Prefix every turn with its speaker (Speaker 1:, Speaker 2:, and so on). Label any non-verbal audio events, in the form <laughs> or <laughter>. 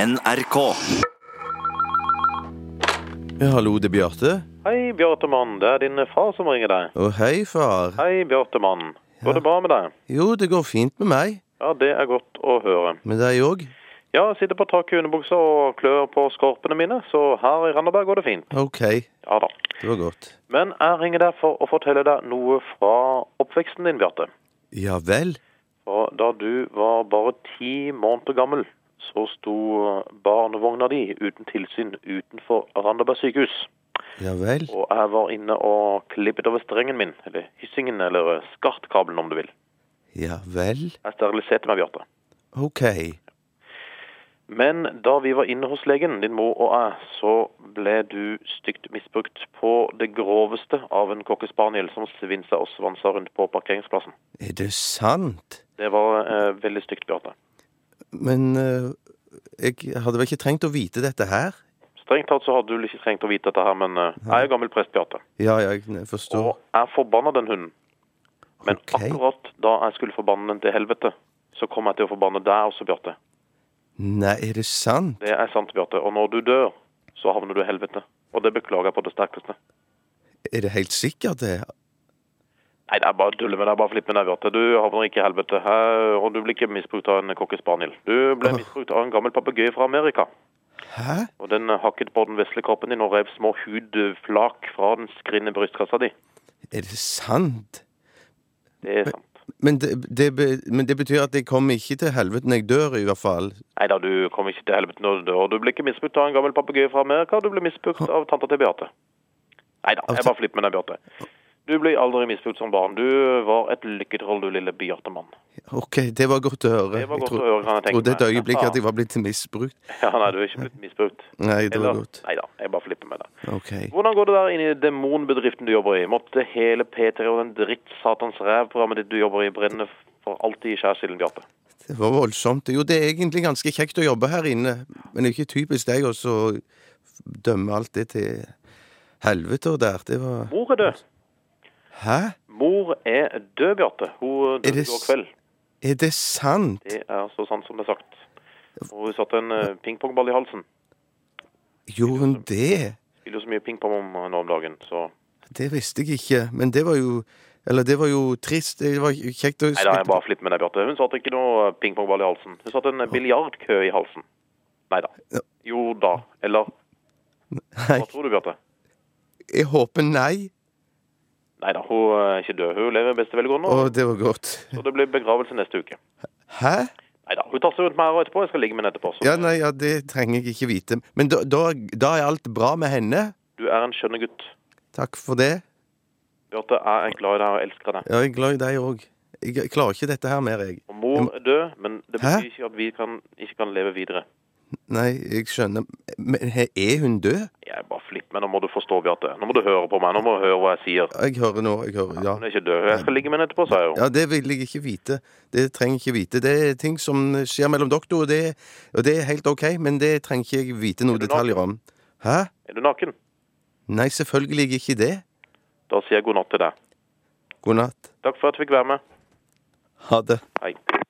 Speaker 1: NRK.
Speaker 2: Ja, hallo, det er Bjarte.
Speaker 3: Hei, Bjartemann. Det er din far som ringer deg.
Speaker 2: Å, hei, far.
Speaker 3: Hei, Bjartemann. Går det bra med deg?
Speaker 2: Jo, det går fint med meg.
Speaker 3: Ja, det er godt å høre.
Speaker 2: Med deg òg?
Speaker 3: Ja, jeg sitter på taket i underbuksa og klør på skorpene mine, så her i Randaberg går det fint.
Speaker 2: OK,
Speaker 3: Ja da.
Speaker 2: det var godt.
Speaker 3: Men jeg ringer deg for å fortelle deg noe fra oppveksten din, Bjarte.
Speaker 2: Ja vel?
Speaker 3: For da du var bare ti måneder gammel, så sto barnevogna di uten tilsyn utenfor Randaberg sykehus.
Speaker 2: Ja vel?
Speaker 3: Og jeg var inne og klippet over strengen min, eller hyssingen, eller skartkabelen om du vil.
Speaker 2: Ja vel?
Speaker 3: Jeg steriliserte meg, Bjarte.
Speaker 2: OK.
Speaker 3: Men da vi var inne hos legen, din mor og jeg, så ble du stygt misbrukt på det groveste av en kokkespaniel som svinsa og svansa rundt på parkeringsplassen.
Speaker 2: Er det sant?
Speaker 3: Det var eh, veldig stygt, Bjarte.
Speaker 2: Men eh, jeg hadde vel ikke trengt å vite dette her?
Speaker 3: Strengt tatt så hadde du vel ikke trengt å vite dette her, men eh, jeg er gammel prest, Bjarte.
Speaker 2: Ja, ja, jeg forstår.
Speaker 3: Og jeg forbanna den hunden. Men
Speaker 2: Ok.
Speaker 3: akkurat da jeg skulle forbanne den til helvete, så kom jeg til å forbanne deg også, Bjarte.
Speaker 2: Nei, er det sant?
Speaker 3: Det er sant, Bjarte. Og når du dør, så havner du i helvete. Og det beklager jeg på det sterkeste.
Speaker 2: Er det helt sikkert, det?
Speaker 3: Nei, det er bare å tulle med deg. Bare flipp med deg, Bjarte. Du havner ikke i helvete. Hæ? Og du blir ikke misbrukt av en kokkespaniel. Du ble misbrukt av en gammel papegøye fra Amerika.
Speaker 2: Hæ?
Speaker 3: Og den hakket på den vesle kroppen din og rev små hudflak fra den skrinne brystkassa di.
Speaker 2: Er det sant?
Speaker 3: Det er sant.
Speaker 2: Men det, det, be- men det betyr at jeg kommer ikke til helvete når jeg dør, i hvert fall.
Speaker 3: Nei da, du kommer ikke til helvete når du dør. Du blir ikke misbrukt av en gammel papegøye fra Amerika. Du blir misbrukt av tanta til Beate. Nei da,
Speaker 2: Av
Speaker 3: jeg
Speaker 2: ta-
Speaker 3: bare flipper med deg, Bjarte. Du ble aldri misbrukt som barn. Du var et lykketroll, du lille Bjarte-mann.
Speaker 2: OK, det var godt å høre.
Speaker 3: Det var
Speaker 2: Jeg
Speaker 3: godt
Speaker 2: tro-
Speaker 3: å høre, kan jeg tenke
Speaker 2: trodde et
Speaker 3: meg.
Speaker 2: øyeblikk
Speaker 3: Ja.
Speaker 2: at jeg var blitt misbrukt.
Speaker 3: <laughs> Ja, nei, du er ikke blitt misbrukt.
Speaker 2: Nei, det var godt.
Speaker 3: Nei da, jeg bare flipper med deg.
Speaker 2: OK.
Speaker 3: Hvordan går det der inne i demonbedriften du jobber i? Måtte hele P3 og den drittsatans rævprogrammet ditt du jobber i, brenne for alltid i skjærsilden, Bjarte?
Speaker 2: Det var voldsomt. Jo, det er egentlig ganske kjekt å jobbe her inne, men det er ikke typisk deg å så dømme alt det til helvete og der. Det var
Speaker 3: Mor er død.
Speaker 2: Hæ?
Speaker 3: Mor er død, Bjarte. Hun
Speaker 2: Er
Speaker 3: døde
Speaker 2: det
Speaker 3: i går
Speaker 2: s-
Speaker 3: kveld.
Speaker 2: Er det sant?
Speaker 3: Det er så sant som det er sagt. Og hun satte en eh, pingpongball i halsen.
Speaker 2: Gjorde hun det?
Speaker 3: Spiller jo så mye pingpong om nå om dagen, så
Speaker 2: Det visste jeg ikke, men det var jo Eller det var jo trist. Det var kjekt å
Speaker 3: Nei da, jeg bare flipper med deg, Bjarte. Hun satte ikke noe eh, pingpongball i halsen. Hun satte en eh, biljardkø i halsen. Nei da. Jo da. Eller
Speaker 2: Nei,
Speaker 3: hva tror du, Bjarte?
Speaker 2: jeg håper nei.
Speaker 3: Nei da, hun eh, er ikke død. Hun lever i beste velgående,
Speaker 2: Å,
Speaker 3: og
Speaker 2: det var godt.
Speaker 3: så det blir begravelse neste uke.
Speaker 2: Hæ?
Speaker 3: Nei da, hun tar seg rundt meg her etterpå. Jeg skal ligge med henne etterpå. Så
Speaker 2: Ja, nei, ja, det trenger jeg ikke vite. Men da, da, da er alt bra med henne.
Speaker 3: du er en skjønne gutt.
Speaker 2: Takk for det.
Speaker 3: Bjarte, jeg er glad i deg og elsker deg.
Speaker 2: Ja, jeg er glad i deg òg. Jeg klarer ikke dette her mer, jeg.
Speaker 3: Og mor er død, men det
Speaker 2: Hæ?
Speaker 3: betyr ikke at vi kan, ikke kan leve videre.
Speaker 2: Nei, jeg skjønner. Men he- er hun død?
Speaker 3: Jeg bare flipp, men nå må du forstå, Bjarte. Nå må du høre på meg. Nå må du høre hva jeg sier.
Speaker 2: Jeg hører nå. jeg hører, ja.
Speaker 3: Hun er ikke død. Jeg skal ligge med henne etterpå, sa jeg jo.
Speaker 2: Ja, Det vil jeg ikke vite. Det trenger jeg ikke vite. Det er ting som skjer mellom dere, og det, og det er helt OK, men det trenger ikke jeg vite noen
Speaker 3: Er du
Speaker 2: detaljer om. Hæ?
Speaker 3: Er du naken?
Speaker 2: Nei, selvfølgelig ikke det.
Speaker 3: Da sier jeg god natt til deg.
Speaker 2: God natt.
Speaker 3: Takk for at jeg fikk være med.
Speaker 2: Ha det.
Speaker 3: Hei.